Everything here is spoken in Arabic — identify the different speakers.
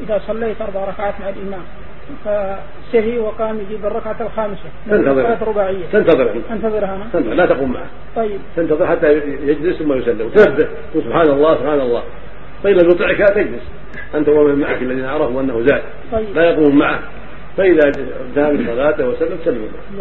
Speaker 1: إذا صليت أربع ركعات مع الإمام فسهي وقام يجيب الركعة الخامسة
Speaker 2: تنتظر
Speaker 1: صلاة رباعية
Speaker 2: تنتظر عنه
Speaker 1: أنتظرها أنا
Speaker 2: تنتظر لا تقوم معه
Speaker 1: طيب
Speaker 2: تنتظر حتى يجلس ثم يسلم تنبه تقول سبحان الله سبحان الله فإن لم يطعك تجلس أنت ومن معك الذين عرفوا أنه زاد
Speaker 1: طيب
Speaker 2: لا يقوم معه فإذا ذهب صلاته وسلم سلم معه
Speaker 1: لا.